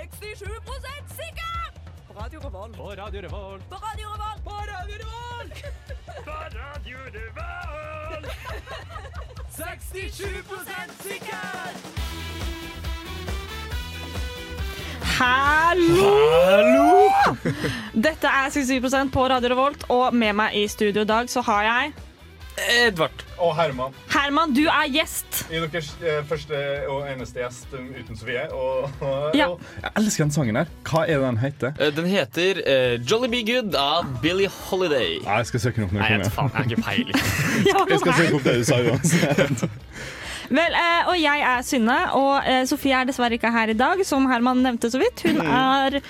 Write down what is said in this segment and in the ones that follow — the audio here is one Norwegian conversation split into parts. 67 sikker! På Radio Revolt. På Radio Revolt. På Radio Revolt. På Radio Revolt! 67 sikker! Hallo! Dette er 67 på Radio Revolt, og med meg i studio i dag så har jeg Edvard. Og Herman Herman, du er gjest. er deres eh, første og eneste gjest um, uten Sofie. Og, og, Ja. og, jeg elsker den sangen her. Hva er det den heter? Eh, Den heter eh, Jolly Be Good av Billie Holiday. Ja, jeg skal søke den opp når Nei, jeg jeg vet kommer hjem. faen, jeg har ikke peiling. Jeg skal søke opp det du sa uansett. Vel, eh, og jeg er Synne, og eh, Sofie er dessverre ikke her i dag, som Herman nevnte så vidt. Hun er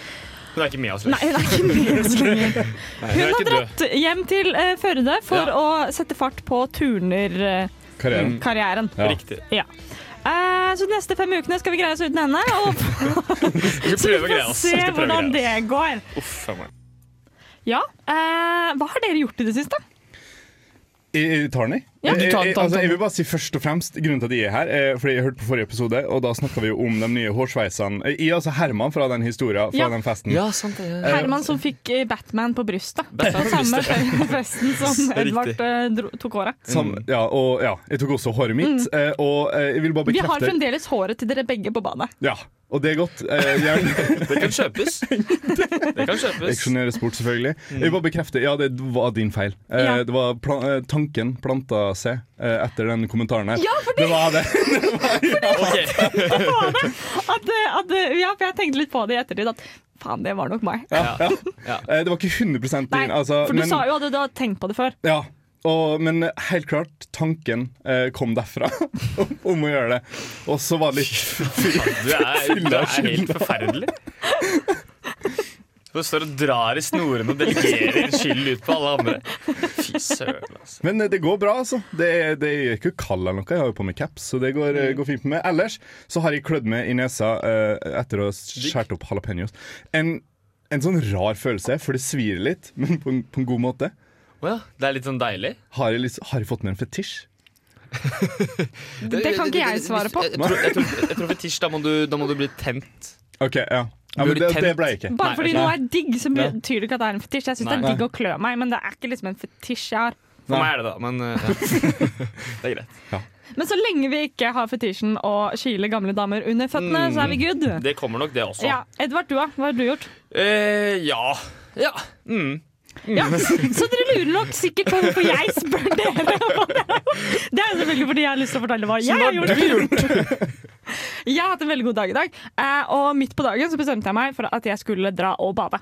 Hun er ikke med oss. liksom. Nei, hun er ikke med oss lenger. Hun har ikke død. dratt hjem til eh, Førde for Ja. å sette fart på turnerkarrieren. Karrieren. Ja. Riktig. Ja. Eh, så de neste fem ukene skal vi greie oss uten henne, og Vi skal så vi prøve å greie får oss. Vi se skal prøve å hvordan det greie oss. går. Uff, faen meg. Ja, eh, Hva har dere gjort i det siste? I, i Tarni? Ja. Jeg, Du tar den, jeg, tar den, altså, tar jeg den. vil bare si først og fremst Grunnen til at jeg er her er Fordi jeg hørte på forrige episode Og da snakket vi jo om de nye hårsveisene Eh, Jeg, altså Herman fra den historien Fra Ja. den festen Ja, sant det. Eh, Herman som fikk eh, Batman på brystet. Det Batman var på samme festen som Riktig. Edvard eh, dro, tok håret. Sam, ja, og ja, jeg tok også håret mitt eh, Og eh, jeg vil Mm. bare Vi har bekrefte fremdeles håret til dere begge på badet. Ja, og det er godt eh, Gjerne Det kan kjøpes. Det kan kjøpes. Eksjonere sport, selvfølgelig. Jeg vil bare bekrefte, ja, det var din feil. Eh, Mm. Ja. Det var plan eh, Tanken planta seg eh, etter den kommentaren her. Ja, fordi Det var det. Ok. at, eh, at, eh, ja, for jeg tenkte litt på det i ettertid. At faen, det var nok meg. Ja. Ja. Eh, Det var ikke 100 din, Nei, altså. for du men, sa jo at du hadde tenkt på det før. Ja, og, men helt klart, tanken eh, kom derfra om å gjøre det. Og så var det litt Du er, du er helt forferdelig. Du står og drar i snorene og delegerer skyld ut på alle andre. Fy søren, altså. Men eh, det går bra, altså. Det er, det er ikke kald eller noe. Jeg har jo på meg caps, så det går, eh, går fint med meg. Ellers så har jeg klødd meg i nesa eh, etter å ha skåret opp jalapeños. En, en sånn rar følelse, for det svir litt, men på en, på en god måte. Å ja, det er litt sånn deilig. Har jeg, litt, har jeg fått meg en fetisj? Det kan ikke jeg svare på. Jeg tror, jeg tror, jeg tror fetisj, da må, du, da må du bli tent. OK, ja. ja Blir du men det, det tent? ble jeg ikke. Bare Nei, fordi nei. noe er digg, så Nei. betyr det ikke at det er en fetisj. Jeg syns det er Nei. digg å klø meg, men det er ikke liksom en fetisj jeg har. For Nei. meg er det, da. Men eh, ja. det er greit. Men så lenge vi ikke har fetisjen å kile gamle damer under føttene, så er vi good. Det kommer nok, det også. Ja, Edvard, du da? Hva har du gjort? Eh, ja. ja. Mm. Ja, Så dere lurer nok sikkert på hvorfor jeg spør dere. hva dere har gjort. Det er selvfølgelig fordi jeg har lyst til å fortelle hva jeg har gjort. Jeg har hatt en veldig god dag i dag, eh, og midt på dagen så bestemte jeg meg for at jeg skulle dra og bade.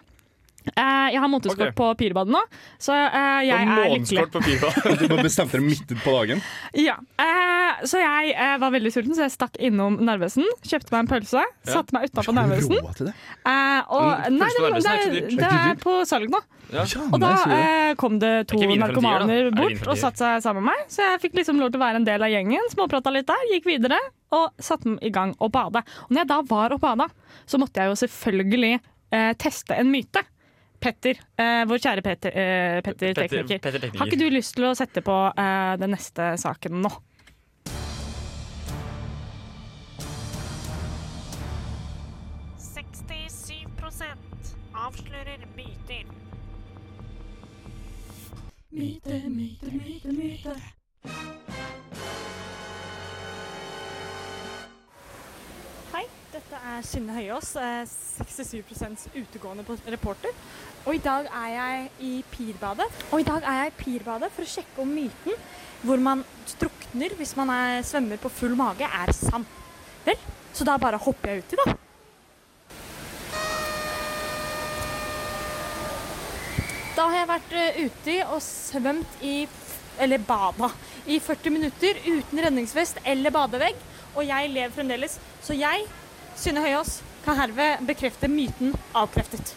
Eh, Jeg har månedskort Ok. på Pirbadet nå, så eh, Og jeg er lykkelig. månedskort på pipa. Du bare bestemte deg midt på dagen. Ja, eh, Så jeg eh, var veldig sulten, så jeg stakk innom Narvesen. Kjøpte meg en pølse, satte meg utapå Narvesen. Råd til det? Eh, og, Mm, nei, pølse det, på Narvesen det, er ikke er, så dyrt. det er på salg nå. Ja. Ja, Og da nei, sier jeg. eh, kom det to Det er ikke vin for en tier, da. Er narkomane det vin bort for en og tier? satte seg sammen med meg. Så jeg fikk liksom lov til å være en del av gjengen. Småprata litt der, gikk videre og satte i gang å bade. Og når jeg da var og bada, så måtte jeg jo selvfølgelig eh, teste en myte. Petter, eh, vår kjære Petter, eh, Petter, Petter- tekniker. Petter tekniker. Har ikke du lyst til å sette på eh, den neste saken nå? avslører myter. Hei, dette er Synne Høyås, eh, 67 utegående på- reporter. Og i dag er jeg i Pirbadet. Og i dag er jeg i Pirbadet for å sjekke om myten hvor man drukner hvis man er, svømmer på full mage, er sann. Vel, så da bare hopper jeg uti, da. Da har jeg vært eh, uti og svømt i eller bada i 40 minutter uten redningsvest eller badevegg, og jeg lever fremdeles. Så jeg, Synne Høyås, kan herved bekrefte myten avkreftet.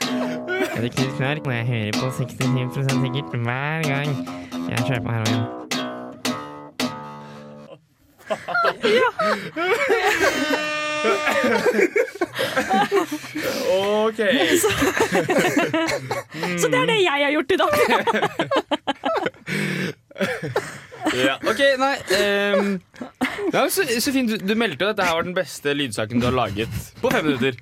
Er det Knut Knark? Og jeg hører på 67 sikkert hver gang jeg kjører på heroin. OK. Så det er det jeg har gjort i dag. Ja. Ok, nei ehm, Ja, men så, så fint, du, du meldte jo at dette her var den beste lydsaken du har laget på fem minutter.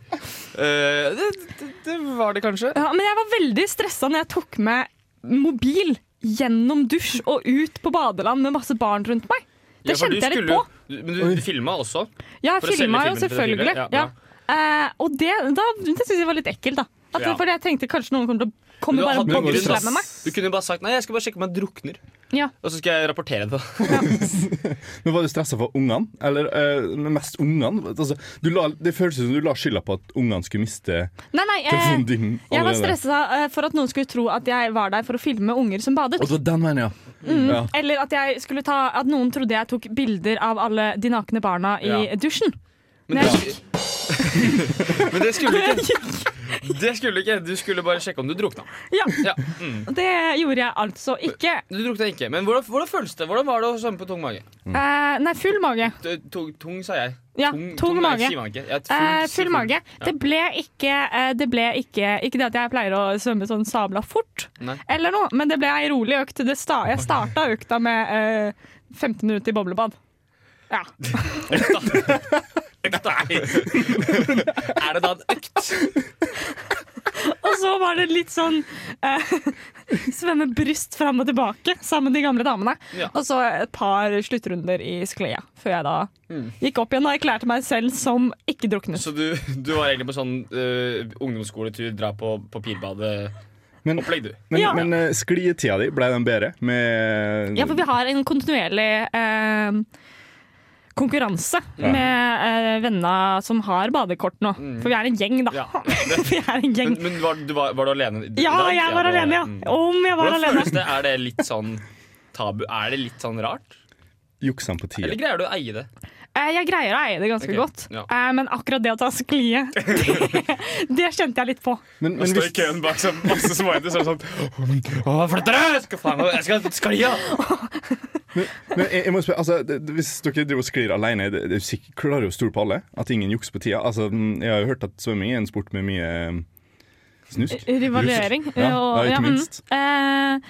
Eh, det, det, det var det kanskje. Ja, men jeg var veldig stressa når jeg tok med mobil gjennom dusj og ut på badeland med masse barn rundt meg. Ja, Det for du kjente jeg litt skulle på. jo- du- Men du, du filma også. Ja, for å jeg selge filma jo filmen til selvfølgelig. pedofile. Ja, Ja. Eh, og det, da, det syns jeg var litt ekkelt, da. At, Ja. Fordi jeg tenkte kanskje noen kommer til å Men komme du bare og hadde jo grunn, bobleslam ass. med meg. Du kunne jo bare sagt Nei, jeg skal bare sjekke om jeg drukner. Ja. Og så skal jeg rapportere det. Men Var du stressa for ungene? Eller eh, mest ungene? Altså, du la- det føltes som du la skylda på at ungene skulle miste Nei, nei, eh, telefonen din. jeg var allerede. stressa eh, for at noen skulle tro at jeg var der for å filme unger som badet. Og det var den veien, ja. Mm. ja. Eller at, jeg skulle ta, at noen trodde jeg tok bilder av alle de nakne barna i Ja. dusjen. Men, Nei. det skulle- men det skulle du ikke. Det skulle du ikke. Du skulle bare sjekke om du drukna. Ja, Ja. Mm. og Det gjorde jeg altså ikke. Du drukna ikke. Men hvordan, hvordan føles det? Hvordan var det å svømme på tung mage? Eh, nei, full mage. T- Tung, tung sa jeg. Ja, tung nei, mage. sier man ikke. Ja, Eh, sier full man. mage. Det ble ikke eh, Det ble ikke, ikke det at jeg pleier å svømme sånn sabla fort, Nei. eller noe, men det ble ei rolig økt. Det sta, jeg starta økta med eh, 15 minutter i boblebad. Ja. Økta er Er det da en økt? Og så var det litt sånn eh, svømme bryst fram og tilbake sammen med de gamle damene. Ja. Og så et par sluttrunder i sklea før jeg da gikk opp igjen og erklærte meg selv som ikke druknet. Så du, du var egentlig på sånn eh, ungdomsskoletur, dra på papirbadet-opplegg, Men, du. men, Ja. men eh, sklietida di, ble den bedre? Med Ja, for Mm. vi har en kontinuerlig eh, konkurranse med eh, venner som har badekort nå. For vi er en gjeng, da. Mm. Ja. vi er en Men, gjeng. men var, du, var, var du alene? i dag? Ja, jeg var du alene, ja. Mm. Om jeg var Hvordan alene. føles det? Er det litt sånn tabu? Er det litt sånn rart? Juksene på tida. Eller greier du å eie det? Eh, jeg greier å eie det ganske Ok, godt, ja. eh, men akkurat det å ta sklie, det, det kjente jeg litt på. Men, men Å stå i hvis- køen bak sånn masse småjenter som er sånn Å, flytt dere! Jeg skal faen meg Jeg skal sklia! Men jeg, jeg må spørre, altså, det, det- Hvis dere driver og sklir alene, det, det, er sikkert- klarer jo å stole på alle? At ingen jukser på tida? Altså, mm, jeg har jo hørt at svømming er en sport med mye eh, snusk. Eh, Rivalering. Rusk. Ja, og- ja, ikke mm. minst. Eh,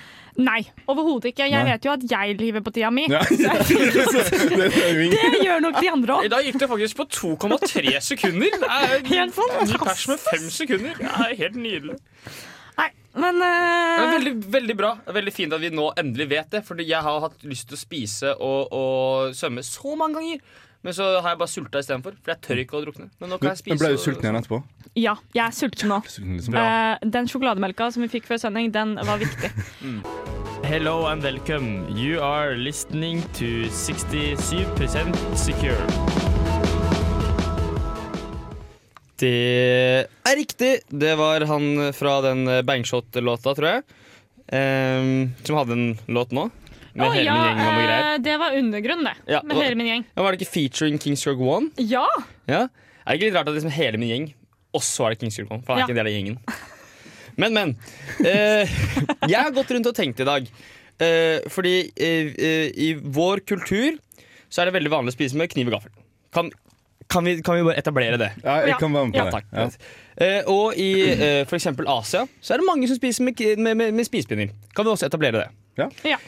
nei, overhodet ikke. Jeg Nei. vet jo at jeg lyver på tida mi. Ja. Mm. Det er jo ingen- Det gjør nok de andre I òg. dag gikk det faktisk på 2,3 sekunder. Det er Helt Ny pers fantastisk. med fem sekunder. Det er helt nydelig. Nei, men Det er eh, veldig, veldig bra. Det er veldig fint at vi nå endelig vet det. Fordi jeg har hatt lyst til å spise og, og svømme så mange ganger. Men så har jeg bare sulta istedenfor. For jeg tør ikke å drukne. Men nå kan jeg spise. Men ble du og- sulten igjen etterpå? Ja, jeg er sulten nå. Sulten, liksom. Bra. Eh, den sjokolademelka som vi fikk før sending, den var viktig. Hello and welcome. You are listening to 67% secure. Det er riktig. Det var han fra den Bangshot-låta, tror jeg. Ehm, som hadde en låt nå. Med Å, hele ja, min gjeng og noe greier. eh, det var undergrunn, det. Ja, med og- hele min gjeng. Ja, var det ikke featuring Kings Rock One? Ja! Ja. Er det ikke litt rart at liksom hele min gjeng også er det Kings Rock One? For han er Ja. ikke en del av gjengen. Men, men. Eh, jeg har gått rundt og tenkt i dag. Eh, fordi eh, eh, i vår kultur så er det veldig vanlig å spise med kniv og gaffel. Kan, kan, vi, kan vi bare etablere det? Ja, jeg Ja. kan være med på Ja, det. Takk. Ja. Eh, og i eh, for eksempel Asia så er det mange som spiser med, med, med, med spisepinner. Kan vi også etablere det? Ja. Ja.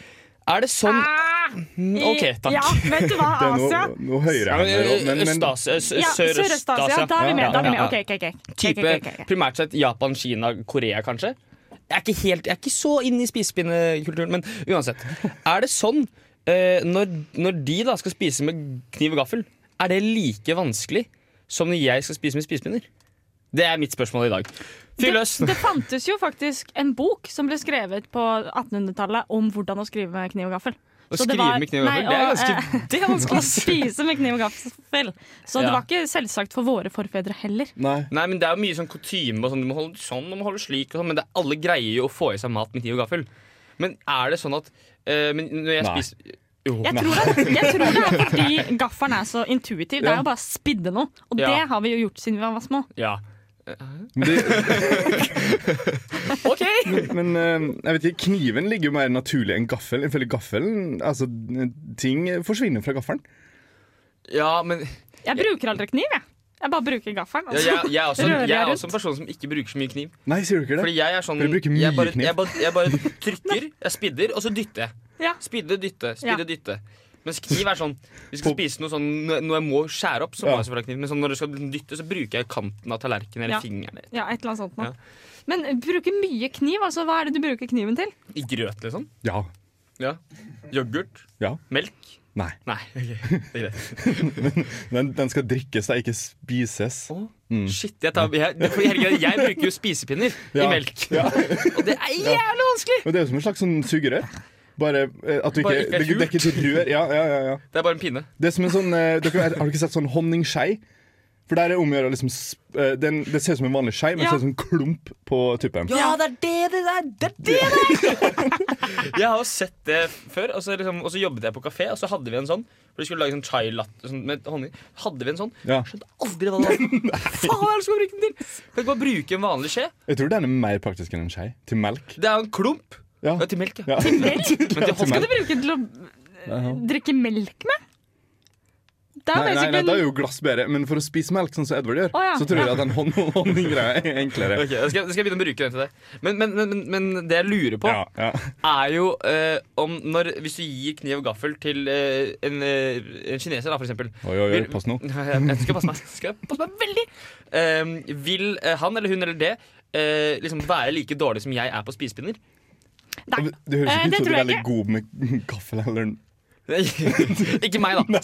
Er det sånn Ah, i- OK, takk. Ja, vet du hva, Det er Asia? noe, noe høyere Ja, her, men, nå, eh, men, men Øst-Asia, s- Ja, Sørøst-Asia. Da er vi med. Da er vi med. Ja, OK, ja. OK. ok. Ok, Type ok, ok, ok. primært sett Japan, Kina, Korea, kanskje. Jeg er ikke, helt, jeg er ikke så inne i spisepinnekulturen, men uansett. Er det sånn eh, når, når de da skal spise med kniv og gaffel, er det like vanskelig som når jeg skal spise med spisepinner? Det er mitt spørsmål i dag. Fyr løs! Det, det fantes jo faktisk en bok som ble skrevet på 1800-tallet om hvordan å skrive med kniv og gaffel. Å Så det skrive var- med kniv og gaffel, nei, det er og, ganske det er Å vanskelig. ass. spise med kniv og gaffel. Så Ja. det var ikke selvsagt for våre forfedre heller. Nei. Nei, men Det er jo mye sånn kutyme og sånn. Du må holde sånn, du må holde slik og sånn. Men det, alle greier jo å få i seg mat med kniv og gaffel. Men er det sånn at eh, men Når jeg Nei. spiser Jo. Jeg tror, det, jeg tror det er fordi gaffelen er så intuitiv. Det Ja. er jo bare å spidde noe. Og Ja. det har vi jo gjort siden vi var små. Ja. Men, det, OK! men eh, jeg vet ikke, kniven ligger jo mer naturlig enn gaffel. Ifølge gaffelen Altså, ting forsvinner fra gaffelen. Ja, men Jeg bruker aldri kniv, jeg. Jeg bare bruker ja, gaffelen. Altså. jeg, jeg, er også, Rører jeg jeg er rundt? også en person som ikke bruker så mye kniv. Nei, sier du ikke det? Fordi jeg er sånn Dere bruker jeg mye bare, kniv. jeg, bare, jeg bare trykker, jeg spidder, og så dytter jeg. Ja. Spidde, dytte, spidde, Ja. dytte. Mens kniv er sånn Hvis jeg På- skal spise noe sånn Når når jeg må skjære opp, så må Ja. jeg selvfølgelig ha kniv. Men sånn, når du skal dytte, så bruker jeg kanten av tallerkenen eller Ja. fingeren. eller- Ja, et eller annet sånt noe. Ja. Men bruke mye kniv, altså hva er det du bruker kniven til? I grøt, liksom. Ja. Ja. Yoghurt. Ja. Melk. Nei. Nei, ok, det er greit. Den, den skal drikkes, da, ikke spises. Å, Mm. Shit, jeg, tar, jeg, det- for herregud, jeg bruker jo spisepinner i Ja. melk. Og det er jævlig vanskelig! Men det er jo som en slags sånn sugerør. Bare eh, at du ikke, Bare ikke det, det er ikke et rør. Ja, ja, ja, ja. Det er bare en pinne. Det er som en sånn eh, dere, Har dere ikke sett sånn honningskei? For der er omgjøret liksom sp- eh, den, Det ser ut som en vanlig skei, men Ja. ser ut som en klump på tuppen. Ja, det er det det er! Det er det jeg har jo sett det før, og så, liksom, og så jobbet jeg på kafé, og så hadde vi en sånn. For de skulle lage sånn chai latte sånn, med honning. Hadde vi en sånn? Ja. Skjønte aldri hva det var. Faen, hva er det som skal bruke den til? Kan ikke bare bruke en vanlig skje. Jeg tror den er mer praktisk enn en skei. Til melk. Det er jo en klump. Ja. Ja, til melk, ja. Ja. Men til Skal honning. du bruke den til å eh, drikke melk med? Det er Nei, jo nei, nei, basically da er jo glass bedre, men for å spise melk, sånn som Edvard gjør, Å, ja. så tror jeg Ja. at den hon honninggreia er enklere. Ok, jeg skal, jeg skal begynne å bruke den til deg. Men, men, men, men- men det jeg lurer på, Ja, ja. er jo eh, om når Hvis du gir kniv og gaffel til eh, en, eh, en kineser, da, for eksempel Oi, oi, oi, Vil- pass nå. Jeg jeg skal passe meg, skal jeg passe meg veldig. Eh, vil eh, han eller hun eller det eh, liksom være like dårlig som jeg er på spisepinner? Nei. Det høres Eh, ikke ut det som du tror er jeg veldig ikke. god med gaffel eller Ikke meg, da.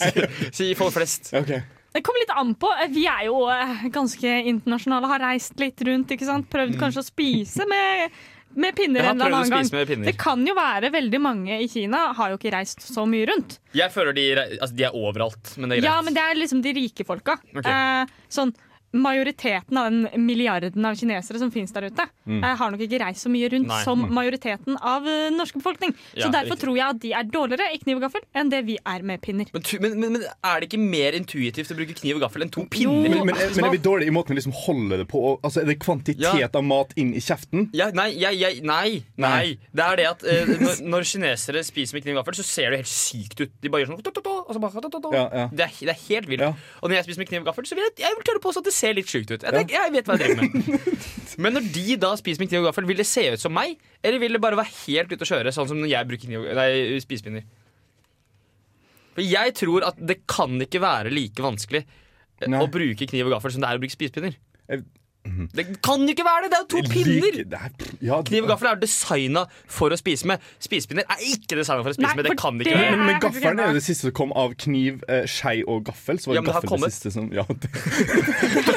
Si folk flest. Ok. Det kommer litt an på. Vi er jo eh, ganske internasjonale, har reist litt rundt. ikke sant? Prøvd kanskje å spise med, med pinner Jeg har en eller prøvd å annen gang. spise med Det pinner. kan jo være veldig mange i Kina har jo ikke reist så mye rundt. Jeg føler de, re- altså, de er overalt, men det er greit. Ja, men det er liksom de rike folka. Ok. Eh, sånn, majoriteten av den milliarden av kinesere som finnes der ute, eh, har nok ikke reist så mye rundt Mm. Nei. Mm. som majoriteten av eh, norske befolkning. Ja, så derfor riktig. tror jeg at de er dårligere i kniv og gaffel enn det vi er med pinner. Men, tu- men, men, men er det ikke mer intuitivt å bruke kniv og gaffel enn to Jo. pinner? Men, men, er- men er vi dårlige i måten vi liksom holder det på? Og- Altså, Er det kvantitet Ja. av mat inn i kjeften? Ja, nei, jeg, jeg, nei, nei. Det er det at eh, når, når kinesere spiser med kniv og gaffel, så ser det helt sykt ut. De bare gjør sånn to-to-to, og så bare to-to-to. Ja, ja. Det, er, det er helt vilt. Ja. Og når jeg spiser med kniv og gaffel, så vil jeg, jeg vil tørre på at det ser litt sjukt ut. Jeg, tenker, jeg vet hva jeg driver med. Men når de da spiser med kniv og gaffel, vil det se ut som meg? Eller vil det bare være helt ute å kjøre, sånn som når jeg bruker kniv, nei, spisepinner? For jeg tror at det kan ikke være like vanskelig eh, Nei. å bruke kniv og gaffel som det er å bruke spisepinner. Jeg- Mhm. Det kan jo ikke være det! Det er jo to pinner! Like- det er- ja, Kniv og gaffel er designa for å spise med. Spisepinner er ikke designa for å spise Nei, med. Det for kan det ikke er- være. Men, men jeg kan ikke gaffelen er glemme. jo det siste som kom av kniv, eh, skei og gaffel. Så var Ja, men det har gaffel kommet. det siste som ja, det, Det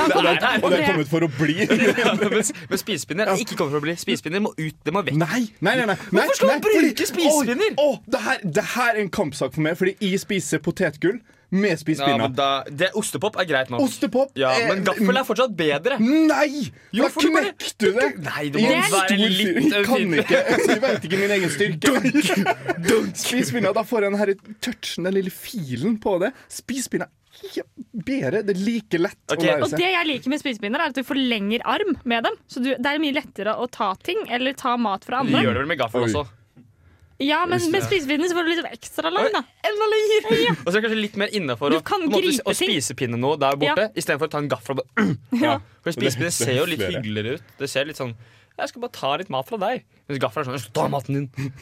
har kommet- nei, Og det det- har kommet for å bli. Men, men spisepinner er ikke kommet for å bli. Spisepinner må ut. Det må vekk. Nei, nei, nei, nei, nei Hvorfor skal man nei, fordi- bruke spisepinner? Åh, åh, det, her, det her er en kampsak for meg, fordi jeg spiser potetgull med Ja, spisepinner. men da, det, ostepop er greit nå. Ostepop Eh, Ja, er- men gaffel er fortsatt bedre. Nei! Jo, da for du bare- knekte du det! Nei, du I må en være stor litt fyr. Jeg kan ømfintlig. ikke. Altså, Jeg vet ikke min egen styrke. Spisepinner, da får jeg den her touchen, den lille filen på det. Spisepinner er bedre. Det er like lett Ok, å og lære Og seg. det jeg liker med spisepinner, er at du forlenger arm med dem. Så du, det er mye lettere å ta ting eller ta mat fra Vi gjør andre. det vel med gaffel Oi. også. Ja, men Just det. med spisepinner så får du liksom ekstra lang, da. Enda lenger! Og så er det kanskje litt mer innafor å, Du kan på en måte å gripe spisepinne noe der borte, Ja. istedenfor å ta en gaffel og bare For spisepinner Det- det ser jo litt høres bedre. hyggeligere ut. Det ser litt sånn Jeg skal bare ta litt mat fra deg. Mens gaffel er sånn Ta maten din!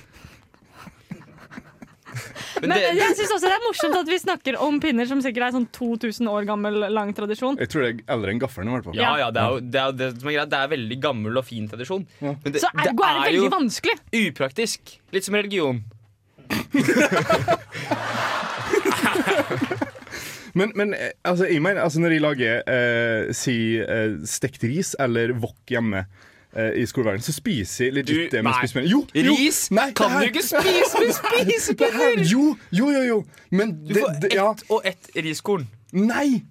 Men Men det, jeg synes også det er morsomt at vi snakker om pinner som sikkert er sånn 2000 år gammel lang tradisjon. Jeg tror det er eldre enn gaffelen, i hvert fall. Ja, ja, det er jo det, er jo det som er greit. Det er veldig gammel og fin tradisjon. Men det, Så ergo er det veldig vanskelig. jo upraktisk. Litt som religion. Men, men eh, altså, jeg mener, altså, når jeg lager eh, si eh, stekt ris eller wok hjemme eh, i skoleverdenen, så spiser jeg legit Du- det med nei. spisepinner. Jo, jo, Ris nei, det kan her- du ikke spise med det her- spisepinner! Jo, jo, jo, jo. Men Du det, får det ett Ja. og ett riskorn. Nei!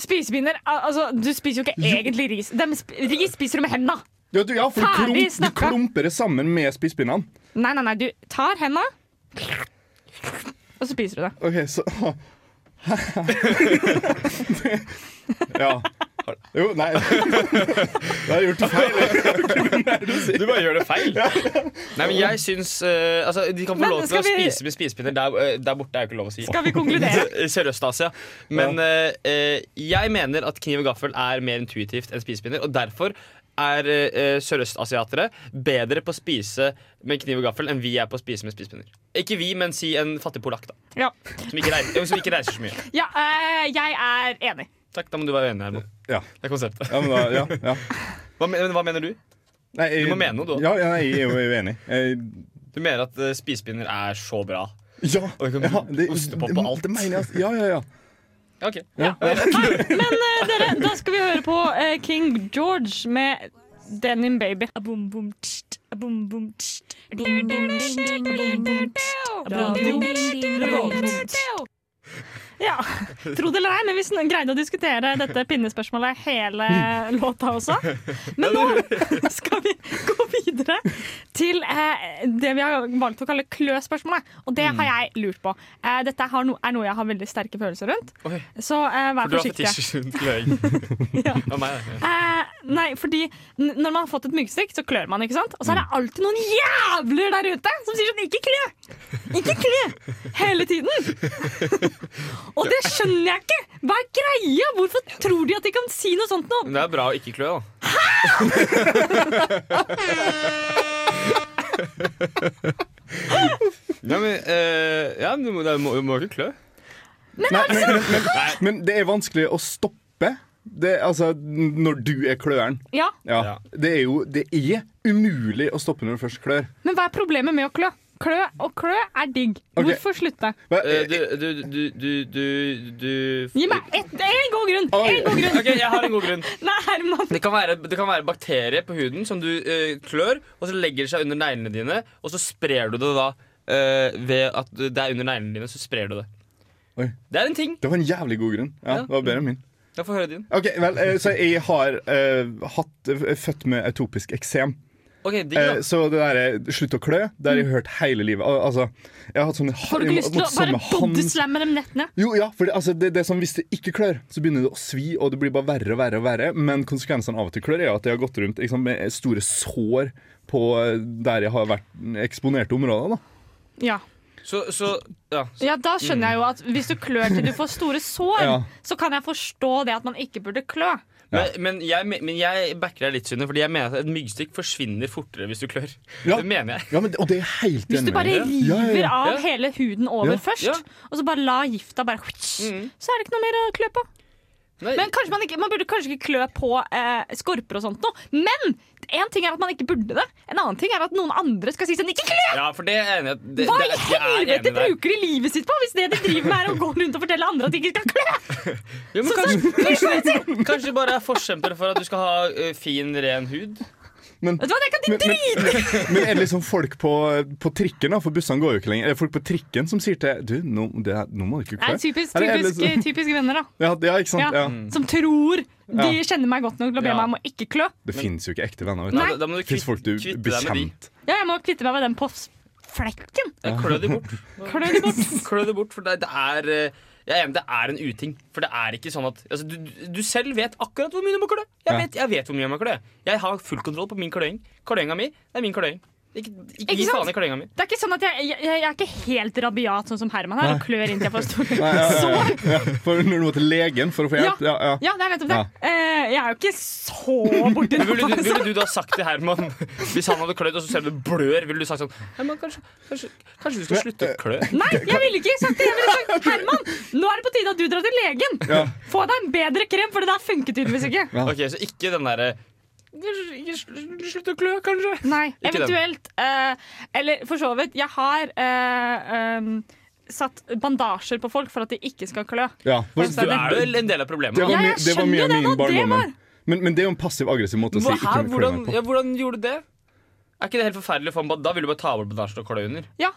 Spisepinner al- Altså, du spiser jo ikke egentlig ris. Dem sp ris spiser du med henda. Ja, du, ja, for du, Ferdig klump, du snakka. klumper det sammen med spisepinnene. Nei, nei, nei. Du tar henda, og så spiser du det. OK, så Ja. Jo, nei Da har jeg gjort feil. Du bare gjør det feil. Nei, men jeg syns eh, Altså, de kan få Men lov til skal å vi- spise med spisepinner. Der, eh, der borte er jo ikke lov å si. Skal vi konkludere? I Sørøst-Asia. Men eh, eh, jeg mener at kniv og gaffel er mer intuitivt enn spisepinner. Og derfor er eh, sørøstasiatere bedre på å spise med kniv og gaffel enn vi er på å spise med spisepinner. Ikke vi, men si en fattig polakk, da. Ja, Som ikke, reiser, som ikke reiser så mye. ja eh, jeg er enig. Takk, da må du være uenig, Herman. Ja. Det er konseptet. Ja, men da, ja, ja. Hva, men, hva mener du? Nei, jeg, Du må mene noe, du også. Ja, ja, nei, jeg er jo uenig. Jeg, Du mener at uh, spisepinner er så bra? ja, Og jeg kan ja, ostepop og det, alt. det mener jeg. altså. Ja, ja, ja. Ja, Ok. Men eh, dere, da skal vi høre på eh, King George med Denim Baby. Ja, Tro det eller ei, men vi sn- greide å diskutere dette pinnespørsmålet hele låta også. Men nå skal vi gå videre til eh, det vi har valgt å kalle klø-spørsmålet. Og det Mm. har jeg lurt på. Eh, dette har no er noe jeg har veldig sterke følelser rundt, Oi, så eh, for vær du har forsiktig. fetisj rundt løing. Ja. Av meg, da. Eh, nei, fordi n når man har fått et myggstikk, så klør man, ikke sant? Og så Mm. er det alltid noen jævler der ute som sier sånn Ikke klø! Ikke klø! Hele tiden. Og det skjønner jeg ikke! Hva er greia? Hvorfor tror de at de kan si noe sånt nå? Men det er bra å ikke klø, da. ja, men, eh, ja, men du må, du må, du må ikke klø. Nei, altså- men, men, men, men det er vanskelig å stoppe det, altså, når du er kløeren. Ja, Ja. Ja. Det er jo det er umulig å stoppe når du først klør. Men hva er problemet med å klø? Klø og klø er digg. Ok. Hvorfor slutte? Men, Eh, du, du, du, du, du, du Gi meg ett- en god grunn! Oi. En god grunn. Ok, jeg har en god grunn. Nei, Herman. Det kan være, det kan være bakterier på huden som du eh, klør, og så legger det seg under neglene dine, og så sprer du det da eh, ved at det er under neglene dine, så sprer du det. Oi. Det er en ting. Det var en jævlig god grunn. Ja, Ja. Det var bedre enn min. Jeg får høre din. Ok, vel, eh, Så jeg har eh, hatt, eh, født med atopisk eksem. Ok, digg Eh, da. så det derre slutt å klø, det har jeg hørt hele livet. Al altså, jeg har hatt sånne Får Mm. du ikke lyst til å bare bodyslamme dem nett ned? Jo, ja, for det, altså, det, det som Hvis det ikke klør, så begynner det å svi, og det blir bare verre og verre. og verre Men konsekvensene av at det klør, er jo at jeg har gått rundt ikke sant, med store sår på eh, der jeg har vært eksponerte områder. da Ja. Så, så, ja. så Ja, da skjønner jeg jo at hvis du klør til du får store sår, Ja. så kan jeg forstå det at man ikke burde klø. Men, men, jeg, me- men jeg backer deg litt, Synne, fordi jeg mener at et myggstikk forsvinner fortere hvis du klør. Ja. Det mener jeg. Ja, men, Og det er jeg helt Hvis du enig med. bare Ja. Ja, ja, river ja. av Ja. hele huden over Ja. først, Ja. og så bare la gifta bare Så er det ikke noe mer å klø på. Nei, Men kanskje man, ikke, man burde kanskje ikke klø på eh, skorper og sånt noe. Men en ting er at man ikke burde det. En annen ting er at noen andre skal si sånn Ikke klø! ja, for det er jeg enig i. at det- Hva det i er- jeg er helvete enig i deg. bruker de livet sitt på hvis det de driver med, er å gå rundt og fortelle andre at de ikke skal klø? Jo, men kanskje, kanskje, kanskje det bare er forkjemper for at du skal ha eh, fin, ren hud. Men, Vet du hva, det kan de men, men, men er det liksom folk på, på trikken, da? for bussene går jo ikke lenger, er det folk på trikken som sier til Du, nå, det, er- nå må du ikke klø. Nei, typisk, Er det- er det typisk, liksom- typisk venner, da. ja, ja, ikke sant? Ja. Ja. Mm, Som tror de Ja. kjenner meg godt nok til å be Ja. meg om å ikke klø. Det fins jo ikke ekte venner. vet Ja, du. Nei. Da, da må du Det fins folk kvitte, du kvitte blir deg med de. kjent. Ja, jeg må kvitte meg med den på s- flekken. Ja, Klø de bort. Klø de bort. Klø det bort, for det, det er eh, jeg er enig, det er en uting. For det er ikke sånn at altså, du, du- du selv vet akkurat hvor mye du må klø. Jeg Ja. vet, jeg vet hvor mye jeg må klø. Jeg har full kontroll på min kløing. Kløinga mi, det er min kløing. Ikke, ikke gi faen sant? i kløinga mi. Det er ikke sånn at jeg, jeg, jeg er ikke helt rabiat sånn som Herman her og klør inntil jeg får store Nei, ja, ja, ja. Ja, for når du må til legen for å få Ja. hjelp? Ja, ja. Ja, det er nettopp det. Ja. Eh, jeg er jo ikke så borti Men Ville du, det. sånn. ville du da sagt til Herman Hvis han hadde klødd og så ser du blør, ville du sagt sånn Herman, kanskje, kanskje, kanskje du skal slutte eh, å klø? Nei, jeg ville ikke sagt det. Jeg ville sagt Herman, nå er det på tide at du drar til legen. Ja. Få deg en bedre krem, for det der funket tydeligvis ikke. Ok, Så ikke den eh, derre «Kanskje- ikke Slutt å klø, kanskje. Nei, Ikke den. eventuelt. eh, eller for så vidt, jeg har eh, um, satt bandasjer på folk for at de ikke skal klø. Ja, for Du er jo en del av Det problemet. var, Ja, mye- jeg det var skjønner mye jo av det min nå, det barndom. Men, men det er jo en passiv aggressiv måte å si Hva, ikke her, med kløe hvordan, meg på. ja, hvordan gjorde du det? Er ikke det helt forferdelig? For han, da vil du bare ta bort bandasjen og klø under. Ja,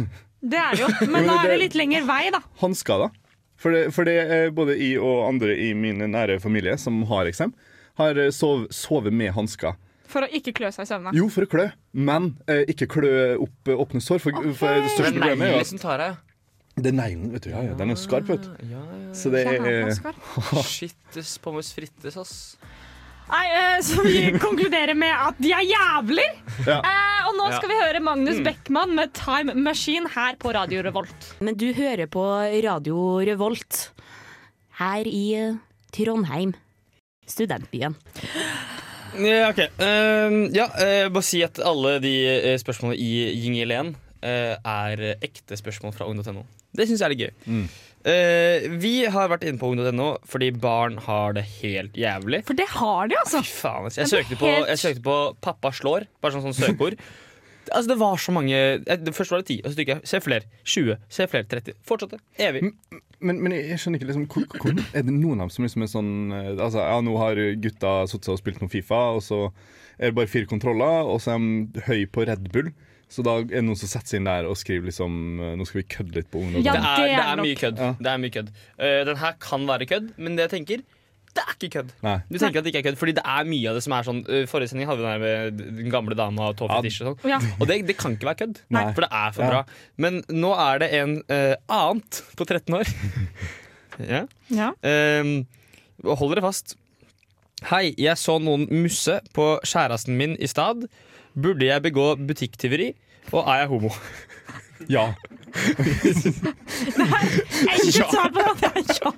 det er det jo. Men men da er det det- litt lengre vei, da. Hansker, da. For det, for det er både jeg og andre i min nære familie som har eksem, har eh, sov, sovet med hansker. For å ikke klø seg i søvne. Jo, for å klø, men eh, ikke klø opp eh, åpne sår. For, for det Det største er problemet er jo neglene at som tar deg. det er neglen. vet du, ja, ja, Den er jo skarp, vet du. Så det er Jævla eh, skarp. Shittes pommes frites, ass. Nei, eh, så vi konkluderer med at de er jævler! Ja. Eh, og nå Ja. Mm. skal vi høre Magnus Beckmann med 'Time Machine' her på Radio Revolt. Men du hører på Radio Revolt her i eh, Trondheim, studentbyen. Ja, ok. Ehm, ja, eh, bare si at alle de eh, spørsmålene i Jingle 1 eh, er ekte spørsmål fra ung.no. Det syns jeg er litt gøy. Eh, vi har vært inne på ung.no fordi barn har det helt jævlig. For det har de, altså. Fy faen, ass. jeg Men det er søkte, på, helt- jeg søkte på 'pappa slår', bare sånn, sånn søkeord. Altså Det var så mange eh, det- Først var det ti, og så trykker jeg 'se flere', 20, 'se flere', 30. Fortsatte. Evig. Men, men jeg skjønner ikke liksom, hvor, hvor, Er det noen av dem som liksom er sånn eh, altså, Ja, nå har gutta satt seg og spilt noe Fifa, og så er det bare fire kontroller, og så er de høy på Red Bull. Så da er det noen som setter seg inn der og skriver liksom eh, Nå skal vi kødde litt på ungdom. Ja, Det er, det det er er nok. mye kødd. Ja. Det er mye kødd. Eh, den her kan være kødd, men det jeg tenker, det er ikke kødd. Nei. Du tenker at det ikke er kødd, fordi det er mye av det som er sånn eh, Forrige sending hadde vi den her med den gamle dama og tåfetisj og sånn. Ja. Og det, det kan ikke være kødd, Nei. for det er for Ja. bra. Men nå er det en eh, annet på 13 år. ja. Ja. Ehm, og hold dere fast. Hei, jeg så noen musse på kjæresten min i stad. Burde jeg begå butikktyveri? Og er jeg homo? Ja. Enkelt svar på det. er Ja.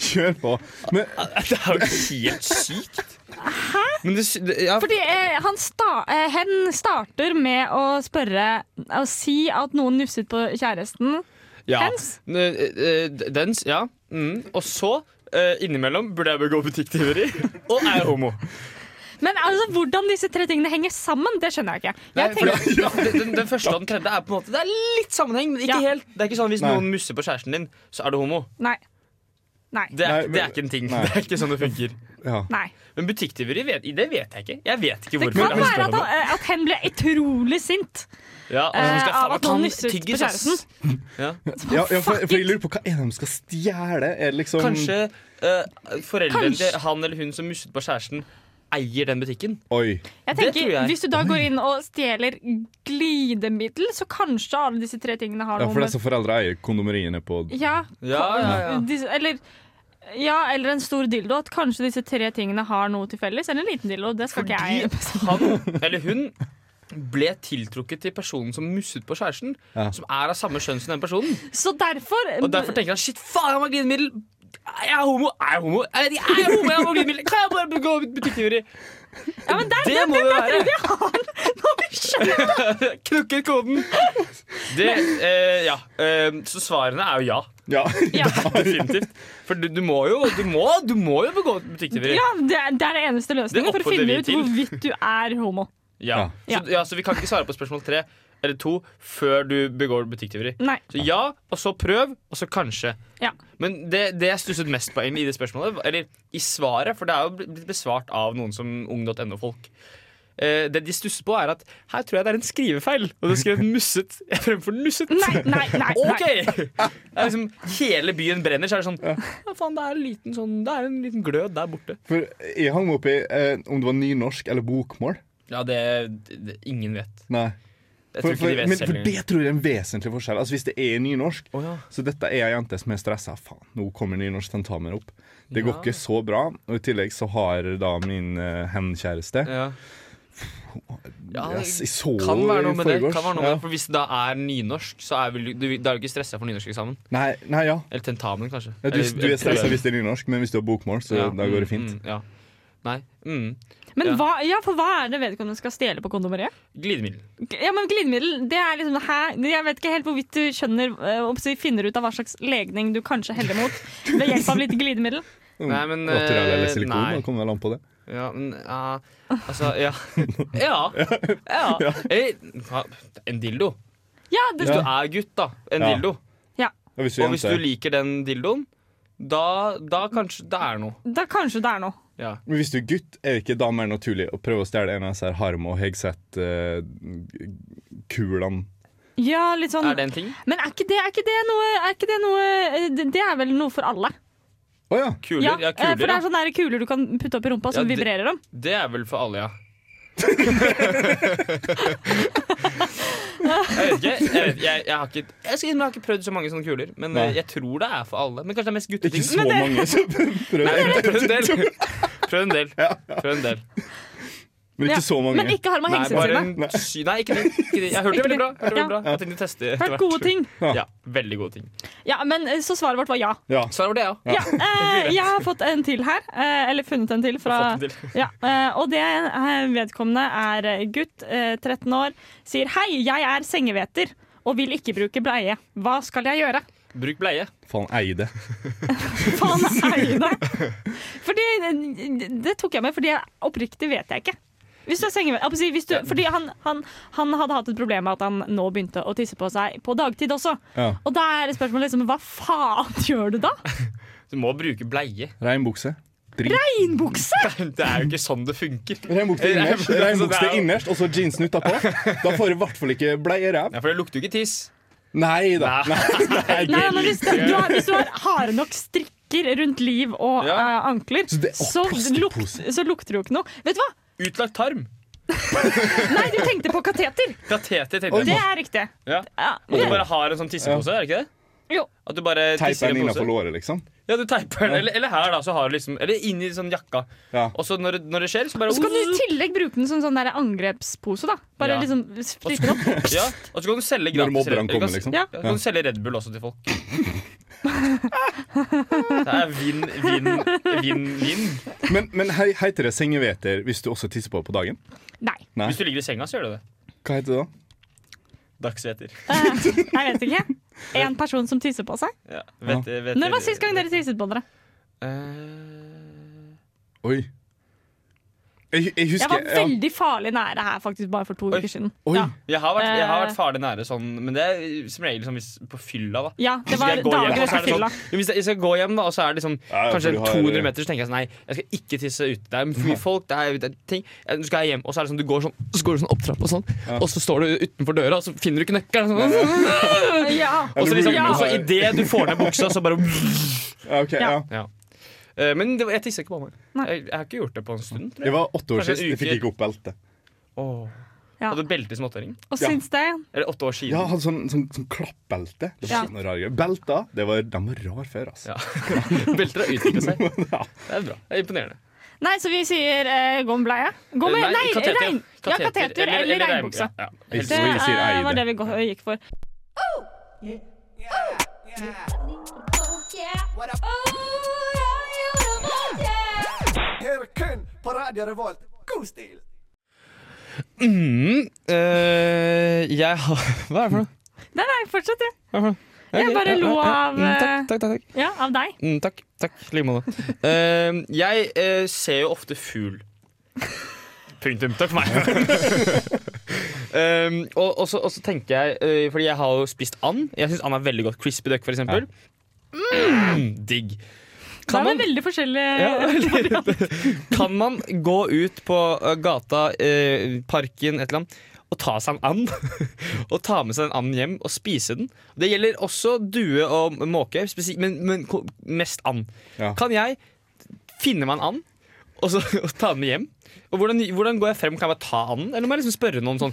Kjør på. Men Det er jo helt sykt. Hæ? Men det, sy- det- ja, Fordi eh, han sta eh, hen starter med å spørre Å si at noen nufset på kjæresten. ja. Hens? N- eh, eh, Dens, ja. Mm. Og så, eh, innimellom, burde jeg begå butikktyveri. Og er jeg homo. Men altså, hvordan disse tre tingene henger sammen, det skjønner jeg ikke. Jeg Nei, for tenker, det- Den, den, den første og den tredje er på en måte Det er litt sammenheng, men ikke Ja. helt. Det er ikke sånn Hvis Nei. noen musser på kjæresten din, så er du homo. nei. Nei. Det er, Nei, ikke- men- det er ikke en ting. nei. Det er ikke sånn det funker. ja. nei. Men butikktyveri, vet, det vet jeg ikke. Jeg vet ikke Det hvorfor. kan er være at, spennende. han, eh, at hen ble utrolig sint. ja, og så skal jeg eh, faen av at meg ta han en nysset på tyggis, ass. kjæresten. Ja. ja, ja for, for jeg lurer på hva er det de skal stjele? Er det liksom Kanskje eh, foreldrene Kanskje. til han eller hun som musset på kjæresten, eier den butikken. Oi. Jeg Det tenker, tror jeg. Hvis du da går inn og stjeler glidemiddel, så kanskje alle disse tre tingene har Ja, noe for med disse foreldra eier kondomeriene på ja, Ja, ja, ja. disse, eller, ja, eller en stor dildo. At kanskje disse tre tingene har noe til felles. Eller en liten dildo. Det skal Fordi ikke jeg han eller hun ble tiltrukket til personen som musset på kjæresten, Ja. som er av samme kjønn som den personen. Så derfor, Og derfor tenker han shit, faen, jeg må ha glidemiddel! Er jeg homo? Er jeg homo? Er jeg, er jeg homo? Jeg må ha glidemiddel! Kan jeg bare gå butikktyveri? ja, men der, Det der, må der, det der tror være. jeg vi har Nå har vi skjønt Knukket koden! Det, eh, ja. Eh, så svarene er jo ja. Ja. ja. Definitivt. For du, du må jo Du må, du må jo begå butikktyveri. ja, det er det er den eneste løsningen for å oppfordrer vi finne ut til. hvorvidt du er homo. Ja. Ja. Så, ja, så vi kan ikke svare på spørsmål tre eller to før du begår butikktyveri. Nei. Så ja, og så prøv, og så kanskje. Ja. Men det, det jeg stusset mest på egentlig i det spørsmålet, eller i svaret, for det er jo bl- blitt besvart av noen som ung.no-folk. Eh, det de stusser på, er at her tror jeg det er en skrivefeil. Og det er skrevet 'musset' fremfor 'nusset'. Nei, nei, nei. OK! nei. Det er liksom, hele byen brenner, så er det sånn Ja, faen, det er en liten, sånn, det er en liten glød der borte. For jeg hang meg opp i eh, om det var nynorsk eller bokmål. Ja, det, det Ingen vet. Nei. Jeg tror ikke For, for, de vet men, selv. for det tror jeg er en vesentlig forskjell. Altså Hvis det er nynorsk, Å, ja. så dette er ei jente som er stressa. Faen, nå kommer nynorsktentamen opp. Det går Ja. ikke så bra. Og i tillegg så har da min uh, hen-kjæreste Ja. Ja, Jeg s- jeg så Kan være noe i med det. forgårs. Kan være noe med Ja. det. For hvis det da er nynorsk, så er vel, du, da er du ikke stressa for nynorskeksamen. Nei, nei, ja. Eller tentamen, kanskje. Ja, Du, Eller- du eller er stressa prøven. hvis det er nynorsk, men hvis du har bokmål, så Ja, da går det mm, fint. Mm, ja. Nei. Mm. Men Ja. hva, ja, for hva er det vedkommende skal stjele på kondomeriet? Glidemiddel. Ja, men Glidemiddel, det er liksom hæ? Jeg vet ikke helt hvorvidt du skjønner eh, om du finner ut av hva slags legning du kanskje heller mot ved hjelp av litt glidemiddel. Nei, men Mm. Materiale eller eh, silikon, nei. da kommer vel an på det. Ja, men ja, Altså, ja. Ja. ja. Eh, ja. En dildo. Ja, det, Hvis du er gutt, da. En Ja. dildo. Og hvis du, Og er hvis jente, du liker den dildoen, da, da kanskje det er noe. Da kanskje det er noe. Ja. men hvis du er gutt, er det ikke da mer naturlig å prøve å stjele en av disse her Harm og eh, Hegseth-kulene? Ja, litt sånn Er det en ting? Men er ikke det, er ikke det noe, er ikke det, noe eh, det- det er vel noe for alle? Å ja. Kuler? Ja, Ja, eh, kuler. For det ja. er sånne der kuler du kan putte opp i rumpa som Ja, det- vibrerer dem. Det er vel for alle, ja. jeg vet ikke. Jeg, vet, jeg, jeg, har ikke jeg, skal, innrømme, jeg har ikke prøvd så mange sånne kuler, men Nei. eh, jeg tror det er for alle. Men kanskje det er mest Ikke gutteting. så mange som prøver. Prøv en del. Prøv en del. Prøv en del. Men ikke Ja. så mange. Men ikke har med Nei, bare hengselsene. en sy... Nei, ikke det. Ikke det. Jeg hørte det veldig bra. Jeg Hørte det veldig bra. Jeg tenkte å teste etter Hørt gode ting. Ja. Ja, veldig gode ting. Ja, men eh, Så svaret vårt var ja. Ja. Svaret var det, ja. ja eh, jeg har fått en til her. Eh, eller funnet en til fra Fått det til. Ja, eh, og det eh, vedkommende er eh, gutt, eh, 13 år, sier hei, jeg er sengehveter og vil ikke bruke bleie. Hva skal jeg gjøre? Bruk bleie. Faen, eide. Faen eiende! Fordi, eh, det tok jeg med, fordi jeg oppriktig vet jeg ikke. Hvis du er sengehveter jeg holdt på å si, hvis du, Fordi han, han, han hadde hatt et problem med at han nå begynte å tisse på seg på dagtid også. Ja. Og da er spørsmålet liksom, hva faen gjør du da? Du må bruke bleie. Reinbukse. Drit. Innbukse! Det er jo ikke sånn det funker. Reinbukse innerst, Rein- reinbukse altså, det er- innerst og så jeansen utapå. Da får du i hvert fall ikke bleieræv. Ja, for det lukter jo ikke tiss. Nei da. Nei. Nei, men hvis, du, du har, hvis du har harde nok strikker rundt liv og Ja. eh, ankler, Så det- å, så, luk, plastpose. så lukter det jo ikke noe. Vet du hva? Utlagt tarm. Nei, du tenkte på kateter! Kateter, tenkte Oi. Det jeg. er riktig. Ja. Ja. At du bare har en sånn tissepose, er det ikke det? Jo. At du bare Teip tisser i en den pose. innafor låret, liksom. Ja, du teiper den. Eller, eller her, da. Så har du liksom, eller inni sånn jakka. Ja. Og så når, det- når det skjer, så bare Så kan du i tillegg bruke den som sånn der angrepspose. da Bare Ja. liksom splitte den opp. Ja, og så kan du selge Når gratis mobberne eller kan- kommer, liksom. Ja. Ja, så kan du selge Red Bull også til folk. Det er vinn, vinn, vinn, vinn. Men, men hei, heter det sengeveter hvis du også tisser på på dagen? Nei, Nei. Hvis du ligger i senga, så gjør du det. Hva heter det da? Dagsveter. jeg vet ikke. En person som tisser på seg. Ja, vet, vet, Når var sist gang dere tisset på dere? Eh, Oi. Jeg, jeg Jeg husker var veldig farlig nære her faktisk bare for to Oi. uker siden. Oi. Ja. jeg, har vært, jeg har Eh. vært farlig nære sånn, men det er som regel som hvis, på fylla, da. Ja, det Hvis var jeg går hjem, dager og så er etter det fylla. sånn- Jo, Hvis jeg skal gå hjem, da, og så er det liksom, Ja, ja, kanskje for du har- 200 meter, så tenker jeg sånn Nei, jeg skal ikke tisse ute. Det er for mye folk. Det er, det er ting. Jeg- Nå skal jeg hjem. Og så er det sånn, du går sånn, så går du sånn opp trappa og sånn, og så står du utenfor døra, og så finner du ikke nøkkelen. Sånn, Ja. og så liksom, Ja. og så idet du får ned buksa, så bare Ja, ok, ja. Ja. Eh, Men det, var- jeg tisser ikke på meg. Nei. Jeg, jeg har ikke gjort det på en stund, tror jeg. Det var åtte år Kanskje en siden. Jeg uke. fikk ikke opp beltet. Åh. Ja. Hadde belte som åtteåring. Og Ja. syns det. Eller åtte år siden. Ja, hadde sånn, sånn, sånn klappbelte. Det var Ja. ikke noe rare greier. Belter, det var, de var rar før, altså. Ja. Belter har utviklet seg. Det er bra. Det er imponerende. Nei, så vi sier eh, gå med bleie. Gå med, Eh, nei, kateter. Rein, ja, kateter eller, regnbukse. Ja, ja. Hvis Det vi sier eh, eide. var det vi gå- gikk for. Her kun på Radio Revolt. God stil! Mm, eh, jeg har Hva er det for noe? Nei, nei, fortsett, du. Hva er det for noe? Jeg Ok, bare ja, lo ja, ja. av, Mm, eh, Takk, takk, takk. takk. Ja, av deg. Mm, takk, takk. I like måte. Eh, jeg eh, ser jo ofte fugl. Punktum. Takk for meg. um, og, og, så, og så tenker jeg eh, Fordi jeg har jo spist and. Jeg syns and er veldig godt. Crispy duck, for eksempel. Mm, digg. Da Kan er man, vi veldig forskjellige. Ja, kan man gå ut på eh, gata, eh, parken, et eller annet, og ta seg en and? og ta med seg en and hjem og spise den? Det gjelder også due og måke, spesi- men, men ko- mest and. Ja. Kan jeg finne meg en and? Og, så, og ta den med hjem? Og hvordan, hvordan går jeg frem? Kan jeg bare ta anden? Eller må jeg liksom spørre noen sånn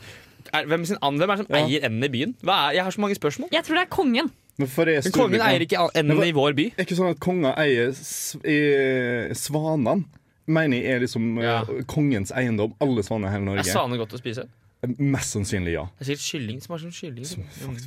er, hvem, sin and, hvem er det som Ja. eier enden i byen? Hva er, jeg har så mange spørsmål. Jeg tror det er kongen. Men for jeg er Men kongen Storbritannia- eier ikke enden i vår by. Er ikke sånn at konger eier s- i- svanene? Mener jeg er liksom eh, Ja. kongens eiendom, alle svaner i hele Er Norge? Eh, svaner godt å spise? Mest sannsynlig ja. Det er sikkert kylling. Smaker som kylling.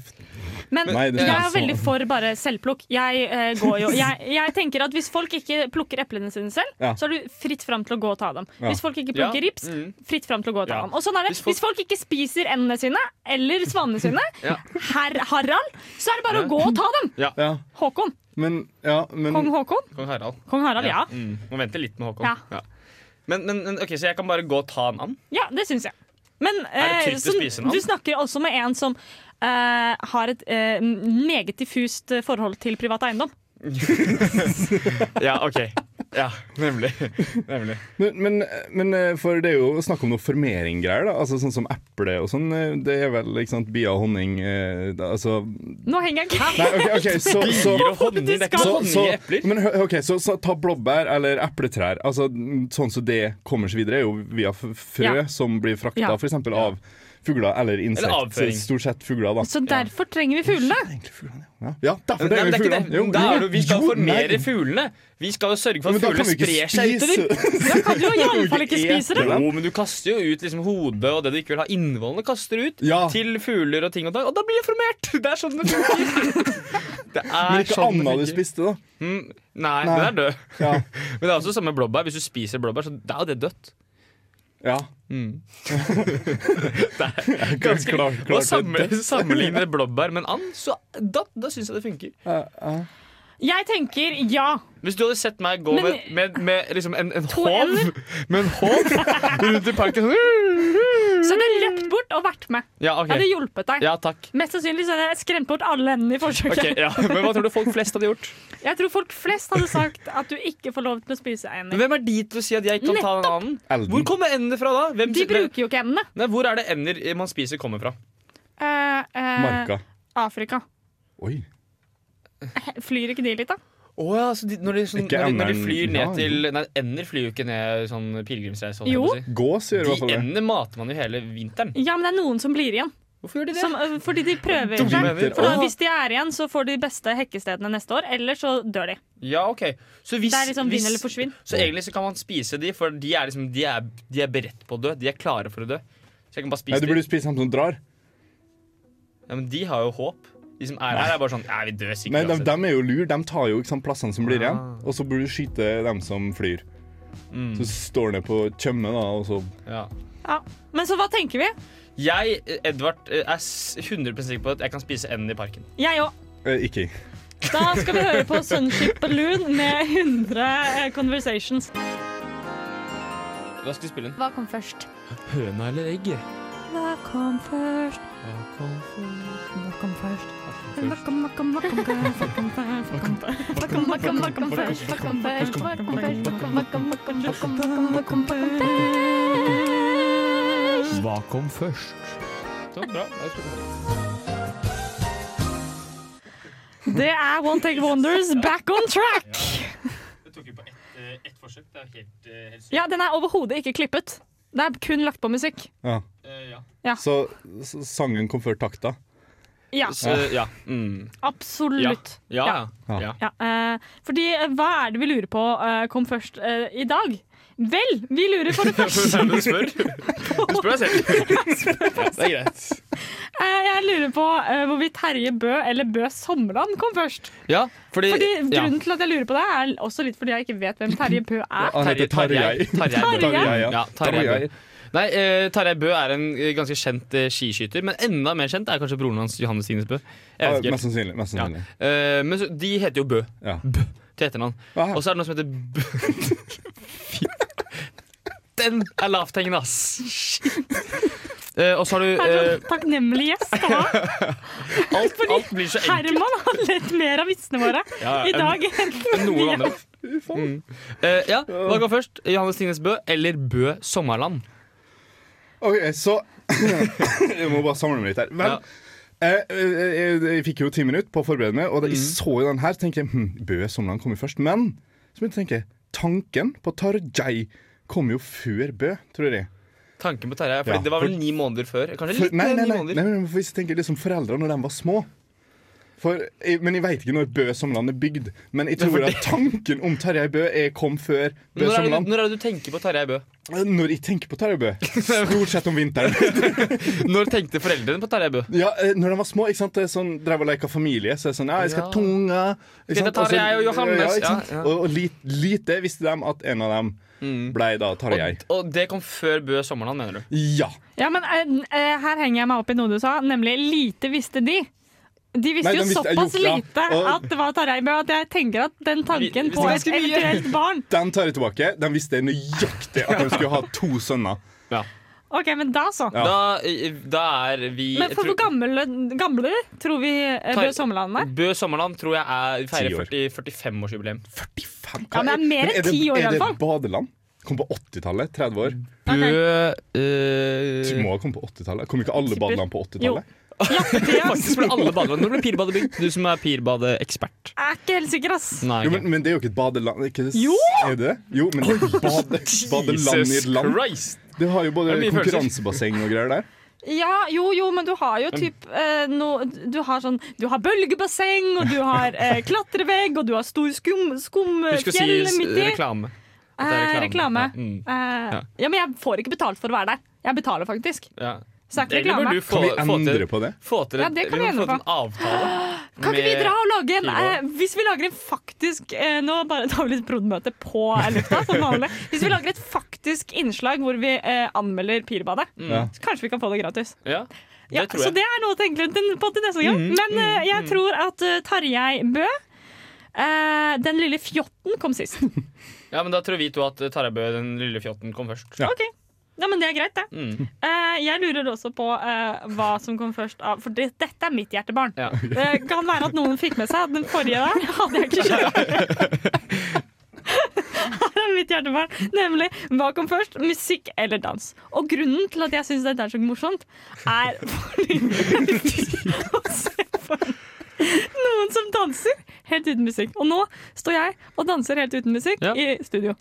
Men Nei, det jeg er er så- veldig for bare selvplukk. Jeg eh, går jo jeg, jeg tenker at hvis folk ikke plukker eplene sine selv, Ja. så er du fritt fram til å gå og ta dem. Ja. Hvis folk ikke Ja, plukker rips, mm. fritt fram til å gå og ta Ja. dem. Og sånn er det. Hvis Hvis folk- folk, ikke spiser endene sine, eller svanene sine, Ja. herr Harald, så er det bare Ja. å gå og ta dem! Ja, Håkon. men, ja, men Kong Håkon. Kong Harald. Kong Harald, ja. Mm. Må vente litt med Håkon. Ja. Ja. Men, men, men ok, Så jeg kan bare gå og ta en and? Ja, det syns jeg. Men Er det eh, trygt å så, spise den? du snakker også med en som eh, har et eh, meget diffust eh, forhold til privat eiendom. Ja, ok. Ja, nemlig. nemlig. Men, men, men eh, for det er jo snakk om noe formering-greier, da. Altså sånn som eple og sånn. eh, Det er vel ikke sant, bier og honning eh, da, Altså Nei, Nå henger jeg ikke OK, ok, så, så, Bier og honning, det er ikke så, honning så, i epler. men, hø- ok, så, så ta blåbær eller epletrær. Altså, mm, sånn som det kommer seg videre, er jo via f- frø Ja. som blir frakta Ja. for f.eks. av fugler eller avføring. insekter. Stort sett fugler, da. Så derfor trenger vi fuglene. Egentlig fuglene, ja. Ja, derfor Nei, trenger men det vi er ikke fuglene. det. Da er det, jo- vi skal jo, formere nei. fuglene. Vi skal jo sørge for Men at da kan fuglene vi sprer ikke seg utover. spise Da kan du jo i alle fall ikke spise dem. Jo, men du kaster jo ut liksom hodet og det du ikke vil ha innvollene, kaster du ut Ja. til fugler og ting og tang. Og da blir det formert! Det er sånn det funker. Det er Men ikke sånn det anna du funker. spiste, da. Mm, nei, Nei. den er død. Ja. Men det er også samme med blåbær. Hvis du spiser blåbær, så det er jo det dødt. ja. Det er Mm. ganske Klart- Å klart det er samle- dødt. sammenligne blåbær med en and, så da, da syns jeg det funker. Jeg tenker ja. Hvis du hadde sett meg gå Men- med, med, med liksom en, en To håv ender. Med en håv rundt i parken sånn, Så hadde jeg løpt bort og vært med. Ja, Jeg hadde OK. hjulpet deg. Ja, takk. Mest sannsynlig så hadde jeg skremt bort alle endene i forsøket. Ok, ja. Men hva tror du folk flest hadde gjort? Jeg tror folk flest hadde sagt at du ikke får lov til å spise Men ender. Hvem er de til å si at jeg ikke kan ta en annen? Elden. Hvor kommer endene fra da? Hvem, De bruker jo ikke endene. Nei, hvor er det ender man spiser, kommer fra? Eh, eh, Marka. Afrika. Oi. Flyr ikke de litt, da? Å ja, så de, når, de, sånn, Ikke når, de, når de enderen- flyr ned ja, til Nei, ender flyr jo ikke ned sånn pilegrimsreise. holdt jeg Jo. på å si. Gås gjør i hvert fall De det. endene mater man jo hele vinteren. Ja, men det er noen som blir igjen. Hvorfor gjør de det? Som, eh, fordi de prøver Dumme seg. ender. For da, Å, hvis de er igjen, så får de beste hekkestedene neste år. Eller så dør de. Ja, ok. Så hvis, Det er liksom hvis- vinn eller forsvinn. Så egentlig så kan man spise de, for de er, liksom, de er, de er beredt på å dø. De er klare for å dø. Så jeg kan bare Nei, spise du de. burde spise dem som drar. Ja, men de har jo håp. De som er her, er bare sånn Nei, vi dør sikkert. Nei, de, uansett." de er jo lur. De tar jo ikke sant, plassene som blir igjen, Ah. og så burde du skyte dem som flyr. Mm. Så står han ned på tjømme, da, og så ja. Ja. Men så hva tenker vi? Jeg, Edvard, eh, er s- 100 sikker på at jeg kan spise enden i parken. Jeg òg. eh, Ikke. Da skal vi høre på Sunship Balloon med 100 eh, conversations. Da skal vi spille den. Hva kom først? Høna eller egget? Hva kom først? Hva kom først? Hva kom, hva kom, hva kom, hva kom først? Hva kom først? Hva kom, hva kom, hva kom først? Hva kom først? Hva kom først? Hva kom, hva kom, hva kom, hva kom, hva kom, hva kom først? Hva kom først? Så, bra. Da skal vi spille den. Det er One Take Wonders back on track! Det tok jo på ett, eh, ett forsøk. Det er helt, eh, helt sykt. Ja, den er overhodet ikke klippet. Det er kun lagt på musikk. Ja. Eh, ja. Så, så sangen kom før takta. Ja, Så, ja. Mm. absolutt. Ja, ja. Ja. ja. Ja, eh, fordi eh, hva er det vi lurer på eh, kom først eh, i dag? Vel, vi lurer for det første Hvem er det du spør? Du spør deg selv. Ja, det er greit. Eh, Jeg lurer på eh, hvorvidt Terje Bø eller Bø Sommerland kom først. Ja, fordi, Fordi ja. Grunnen til at jeg lurer på det, er også litt fordi jeg ikke vet hvem Terje Bø er. Han heter Tarjei. Tarjei Bø. Tarjei, ja. Ja, Tarjei Bø. Nei, eh, Tarjei Bø er en eh, ganske kjent eh, skiskytter, men enda mer kjent er kanskje broren hans, Johannes Tines Bø. Ja, Jeg vet ikke helt. mest sannsynlig. Mest Ja. sannsynlig. Eh, men så, de heter jo Bø Ja. til etternavn. Ah, Og så er det noe som heter Bø... Fy. Den er lavthengende, ass! Shit. Eh, og så har du Det er eh, så Takknemlig gjest å ha. alt, alt blir så enkelt. Herman har lett mer av vitsene våre Ja, i en- dag enn Noen andre. Mm. Eh, ja, hva går først? Johannes Tines Bø eller Bø Sommerland? OK, så Jeg må bare samle meg litt her. Vel, Ja. eh, eh, jeg, jeg fikk jo ti minutter på å forberede meg, og da Mm. jeg så jo den her, tenkte jeg hm, Bø Somland kommer først. Men så begynte jeg å tenke Tanken på Tarjei kom jo før Bø, tror jeg. Tanken på Terje, fordi Ja, det var vel for- ni måneder før. Kanskje For, litt nei, mer nei, enn ni nei, nei, måneder. men hvis jeg tenker liksom foreldra når de var små for, jeg, men Jeg veit ikke når Bø Somland er bygd, men jeg Nei, for tror at tanken om Tarjei Bø er, kom før Bø Når er, det, Somland. når er det du tenker på Tarjei Bø? Når jeg tenker på Tarjei Bø, stort sett om vinteren Når tenkte foreldrene på Tarjei Bø? Ja, eh, når de var små, ikke sant? Det er sånn, drev og leka familie, så er det sånn Ja, jeg skal Ja. ha tunga. ikke Skal sant? hete så- Tarjei og Johannes, Ja, ikke sant? ja, ja. Mm. Og, og lit, lite visste de at en av dem blei da Tarjei. Og, og det kom før Bø Sommerland, mener du? Ja. Ja, men eh, eh, her henger jeg meg opp i noe du sa, nemlig lite visste de. De visste Nei, jo de visste- såpass jo, ja, lite og- at det var Tarjei Bø, at jeg tenker at den Vi- tanken på vi- et eventuelt barn Den tar jeg tilbake. De visste nøyaktig at de skulle ha to sønner. OK, men da så. Ja. Da, eh, da er vi Men for jeg hvor tror- gamle, gamle tror vi eh, Tar- Bø Sommerland er? Bø Sommerland tror jeg er, vi Ti feirer år. 40 45-årsjubileum. 45? Ja, men det er mer enn det- ti år i Er hvert fall. det badeland? Kom på 80-tallet? 30 år? Bø Du eh, må ha kommet på 80-tallet. Kom ikke alle Tipper. badeland på 80-tallet? Ja, det er, Faktisk ble alle badeland. Nå ble Pirbadet bygd. Du som er pirbadeekspert. jeg er ikke helt sikker, ass. Nei, Jo, ok. men, men det er jo ikke et badeland ikke, det- Jo! Er det det? Jo, men det er bade, badeland i et land. Christ! Det har jo Det både er mye følelser. konkurransebasseng og greier der. Ja, jo, jo, men du har jo typ eh, no, Du har sånn Du har bølgebasseng, og du har eh, klatrevegg, og du har stor skum, Du skumfjell skulle si s- midt i. reklame. At det Eh, er reklame. Ja, mm, Eh, Ja. ja, men jeg får ikke betalt for å være der. Jeg betaler faktisk. ja. Så det er ikke Egentlig burde reklame. du få, Kan vi få til, endre på det? få til Ja, et, det kan vi vi må endre få til en avtale. Kan ikke vi med- dra og lage en Kilo. eh, Hvis vi lager en faktisk eh, Nå bare tar vi litt prod-møte på lufta. som vanlig. Hvis vi lager et faktisk innslag hvor vi eh, anmelder Pirbadet, Ja. så kanskje vi kan få det gratis. Ja, Mm. det Ja, tror jeg. Mm. Så det er noe å tenke litt på til neste gang. Men eh, jeg tror at eh, Tarjei Bø eh, Den lille fjotten kom sist. Ja, men Da tror vi to at Tarabø, den lille fjotten, kom først. Ja. OK. Ja, men det er greit, det. Mm. Eh, jeg lurer også på eh, hva som kom først av For det, dette er mitt hjertebarn. Ja. Det kan være at noen fikk med seg at den forrige der hadde jeg ikke skjønt. Her er mitt hjertebarn, nemlig hva kom først, musikk eller dans? Og grunnen til at jeg syns dette er så morsomt, er fordi å se på noen som danser helt uten musikk. Og nå står jeg og danser helt uten musikk Ja. i studio.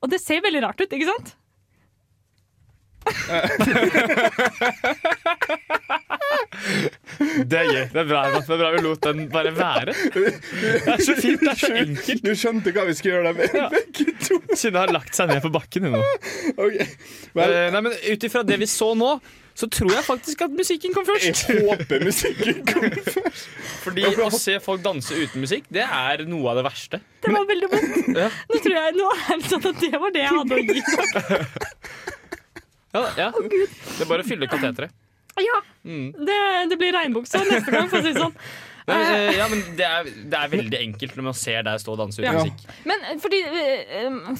Og det ser veldig rart ut, ikke sant? Det er gøy. Det er bra, Emma. det er bra vi lot den bare være. Det er så fint, det er så enkelt. Du skjønte hva vi skulle gjøre der, be- begge to. Synne har lagt seg ned på bakken hun nå. Ok. Vel, Eh, Nei, men Ut ifra det vi så nå, så tror jeg faktisk at musikken kom jeg først. håper musikken kommer. Fordi å se folk danse uten musikk, det er noe av det verste. Det var veldig vondt. Ja. Nå tror jeg nå er det sånn at det var det jeg hadde å gi. Ja, ja. Det er bare å fylle kateteret. Ja, Mm. det, det blir regnbukse neste gang, for å si det sånn. Nei, men, eh, ja, men det er, det er veldig enkelt når man ser deg stå og danse uten Ja. musikk. Men eh, fordi eh, eh,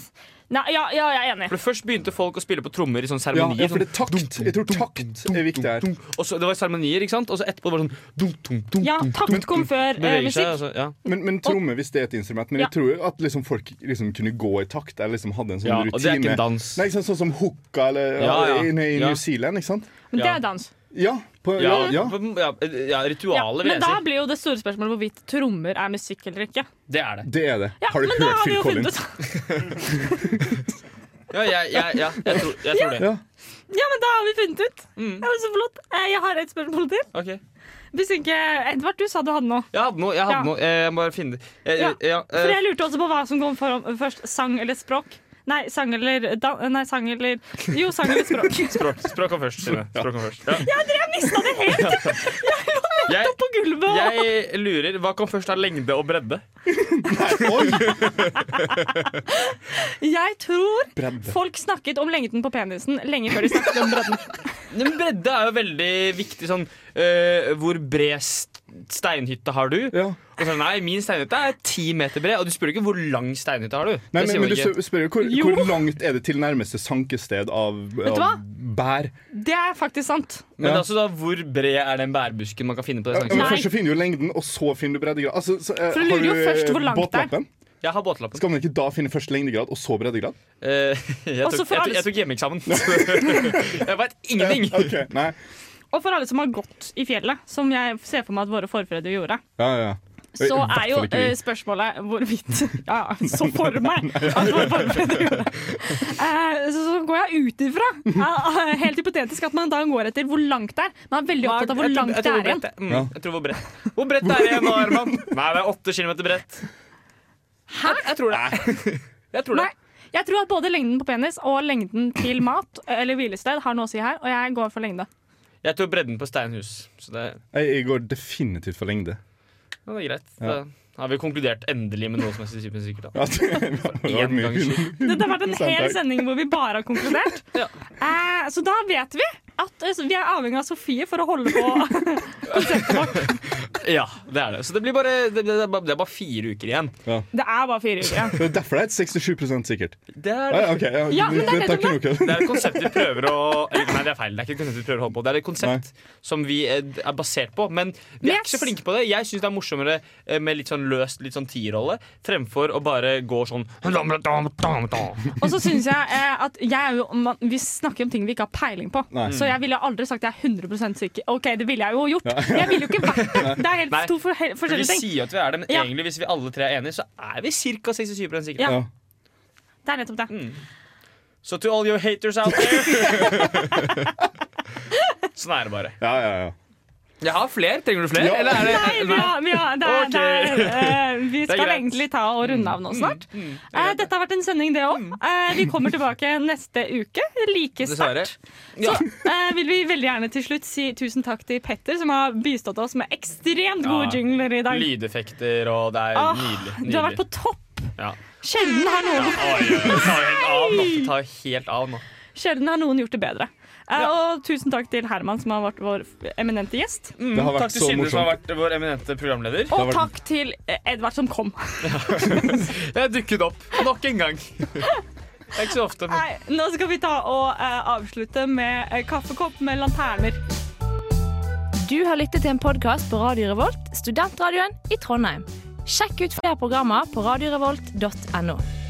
Nei, ja, ja, jeg er enig. For Først begynte folk å spille på trommer i sånne Ja, seremonier. ja, for det er takt. Jeg tror takt er viktig her. sånn, og så, det var seremonier, ikke sant? Og så etterpå var det sånn dum, dum, dum, Ja, takt kom før eh, Beveger seg, musikk. altså. Ja. Men, men tromme, hvis det er et instrument. Men Ja. jeg tror jo at liksom folk liksom kunne gå i takt, eller liksom hadde en sånn Ja, og rutine. det er ikke en dans. Nei, ikke sant, sånn som hooka eller Ja, ja. inne i Ja. New Zealand, ikke sant? Men det Ja. er dans. Ja. På, ja, Ja, ja. ja, eh, ja, Ja. ritualet, vil Men jeg da si. blir jo det store spørsmålet hvorvidt trommer er musikk eller ikke. Det er det. Det er det. Ja, har du men da hørt har vi Phil jo funnet Collins? ut Ja, jeg, jeg, ja, jeg, tror, jeg tror det. Ja. Ja, men da har vi funnet ut. Mm. Ja, men så flott. Eh, Jeg har et spørsmål til. Ok. Hvis ikke Edvard, du sa du hadde noe. Jeg hadde noe. Jeg Ja. hadde noe. Eh, Jeg må bare finne det. Eh, Ja, eh, ja, For eh, jeg lurte også på hva som kom for, først. Sang eller språk? Nei, sang eller da, Nei, sang eller Jo, sang eller språk. Språk, språk kom først. Signe. Språk kom først. Ja. Jeg mista det helt Jeg, på gulvet! og- jeg lurer. Hva kom først av lengde og bredde? Oi! Jeg tror Bredde. folk snakket om lengden på penisen lenge før de snakket om bredden. Men bredde er jo veldig viktig. Sånn, eh, hvor bred st- steinhytte har du? Ja. Og så, nei, min steinhytte er ti meter bred. Og du spør ikke hvor lang steinhytte har du. Nei, Det men, sier man men du ikke. spør spør jo hvor, Jo. hvor langt er det til nærmeste sankested av, du av bær? Det er faktisk sant. Men Ja. altså da, hvor bred er den bærbusken man kan finne på det? Ja, men snakket? Nei. først så finner du lengden, og så finner du breddegrad. Altså, så, eh, For du lurer har jo først eh, hvor langt det er. båtlappen? Jeg har båtlappen. Skal man ikke da finne først lengdegrad, og så breddegrad? Eh, jeg, Og så tok, for jeg, tok, alle- jeg tok hjemmeeksamen. jeg veit ingenting. Ok, nei. Og for alle som har gått i fjellet, som jeg ser for meg at våre forfedre gjorde, Ja, ja. I så hvert er jo fall ikke vi. eh, spørsmålet hvorvidt Ja, ja, så for meg at våre forfedre gjorde det. Eh, Så så går jeg ut ifra, eh, eh, helt hypotetisk, at man da går etter hvor langt det er. Man er veldig opptatt av hvor Jeg tror- langt jeg det tror er igjen. bredt Mm, Ja. Jeg tror hvor bredt. Hvor bredt er det igjen nå, Herman? Nei, det er åtte kilometer bredt. Hæ? Jeg, jeg tror det. Jeg tror det. Nei. Jeg tror at både lengden på penis og lengden til mat eh, eller hvilested har noe å si her, og jeg går for lengde. Jeg tror bredden på Steinhus. Så det, Jeg, jeg går definitivt for lengde. ja, det er greit. Ja. Da har vi konkludert endelig med noe som er sikkert. Da. Ja, det var Én mye gang skyld. Dette har vært en Sant, hel takk. sending hvor vi bare har konkludert. Ja. Eh, så da vet vi at eh, så vi er avhengig av Sofie for å holde på. ja, det er det. Så det blir bare, det, det, er bare, det er bare fire uker igjen. Det er bare fire uker igjen. Det er derfor det er et 67 sikkert. Det er Ja, det. ja, ok, ja. Ja, men det er takk nettopp til Det er et konsept vi prøver å eller, Nei, det er feil. Det er ikke et konsept vi prøver å holde på Det er et konsept som vi eh, er basert på, men vi er ikke så Yes. flinke på det. Jeg syns det er morsommere eh, med litt sånn løst, litt sånn tierrolle, fremfor å bare gå sånn Og så syns jeg eh, at jeg er jo, man, vi snakker om ting vi ikke har peiling på. Nei. Så jeg ville aldri sagt jeg er 100 sikker. OK, det ville jeg jo gjort. Jeg ville jo ikke vært det. Det er helt Nei. to for, he, For Vi forskjellige ting. sier jo at vi er det, men Ja. egentlig hvis vi alle tre er enige, så er vi ca. 67 sikre. Ja. Ja. Det er nettopp det. Så to all your haters out there Sånn er det bare. Ja, ja, ja. Jeg har flere. Trenger du flere? Ja. Eller er det Nei, vi, har, vi, har, det er, Ok. det er, eh, vi er skal greit. egentlig ta og runde av nå snart. Eh, dette har vært en sending, det òg. vi kommer tilbake neste uke, like Dessverre. sterkt. Så eh, vil vi veldig gjerne til slutt si tusen takk til Petter, som har bistått oss med ekstremt gode Ja. jingler i dag. Lydeffekter og det er Ah, nydelig. Du har vært på topp! Ja. Sjelden har noen Oi, oi, oi, det tar jo helt av nå. Det tar jo helt av nå. Sjelden har noen gjort det bedre. Eh, Og tusen takk til Herman, som har vært vår eminente gjest. Det har vært Mm, Takk til så Sindre, som har morsomt. vært vår eminente programleder. Og vært- takk til eh, Edvard, som kom. Jeg dukket opp nok en gang. Det er ikke så ofte. Men. Nei, nå skal vi ta og eh, avslutte med eh, kaffekopp med lanterner. Du har lyttet til en podkast på Radio Revolt, studentradioen i Trondheim. Sjekk ut flere programmer på radiorevolt.no.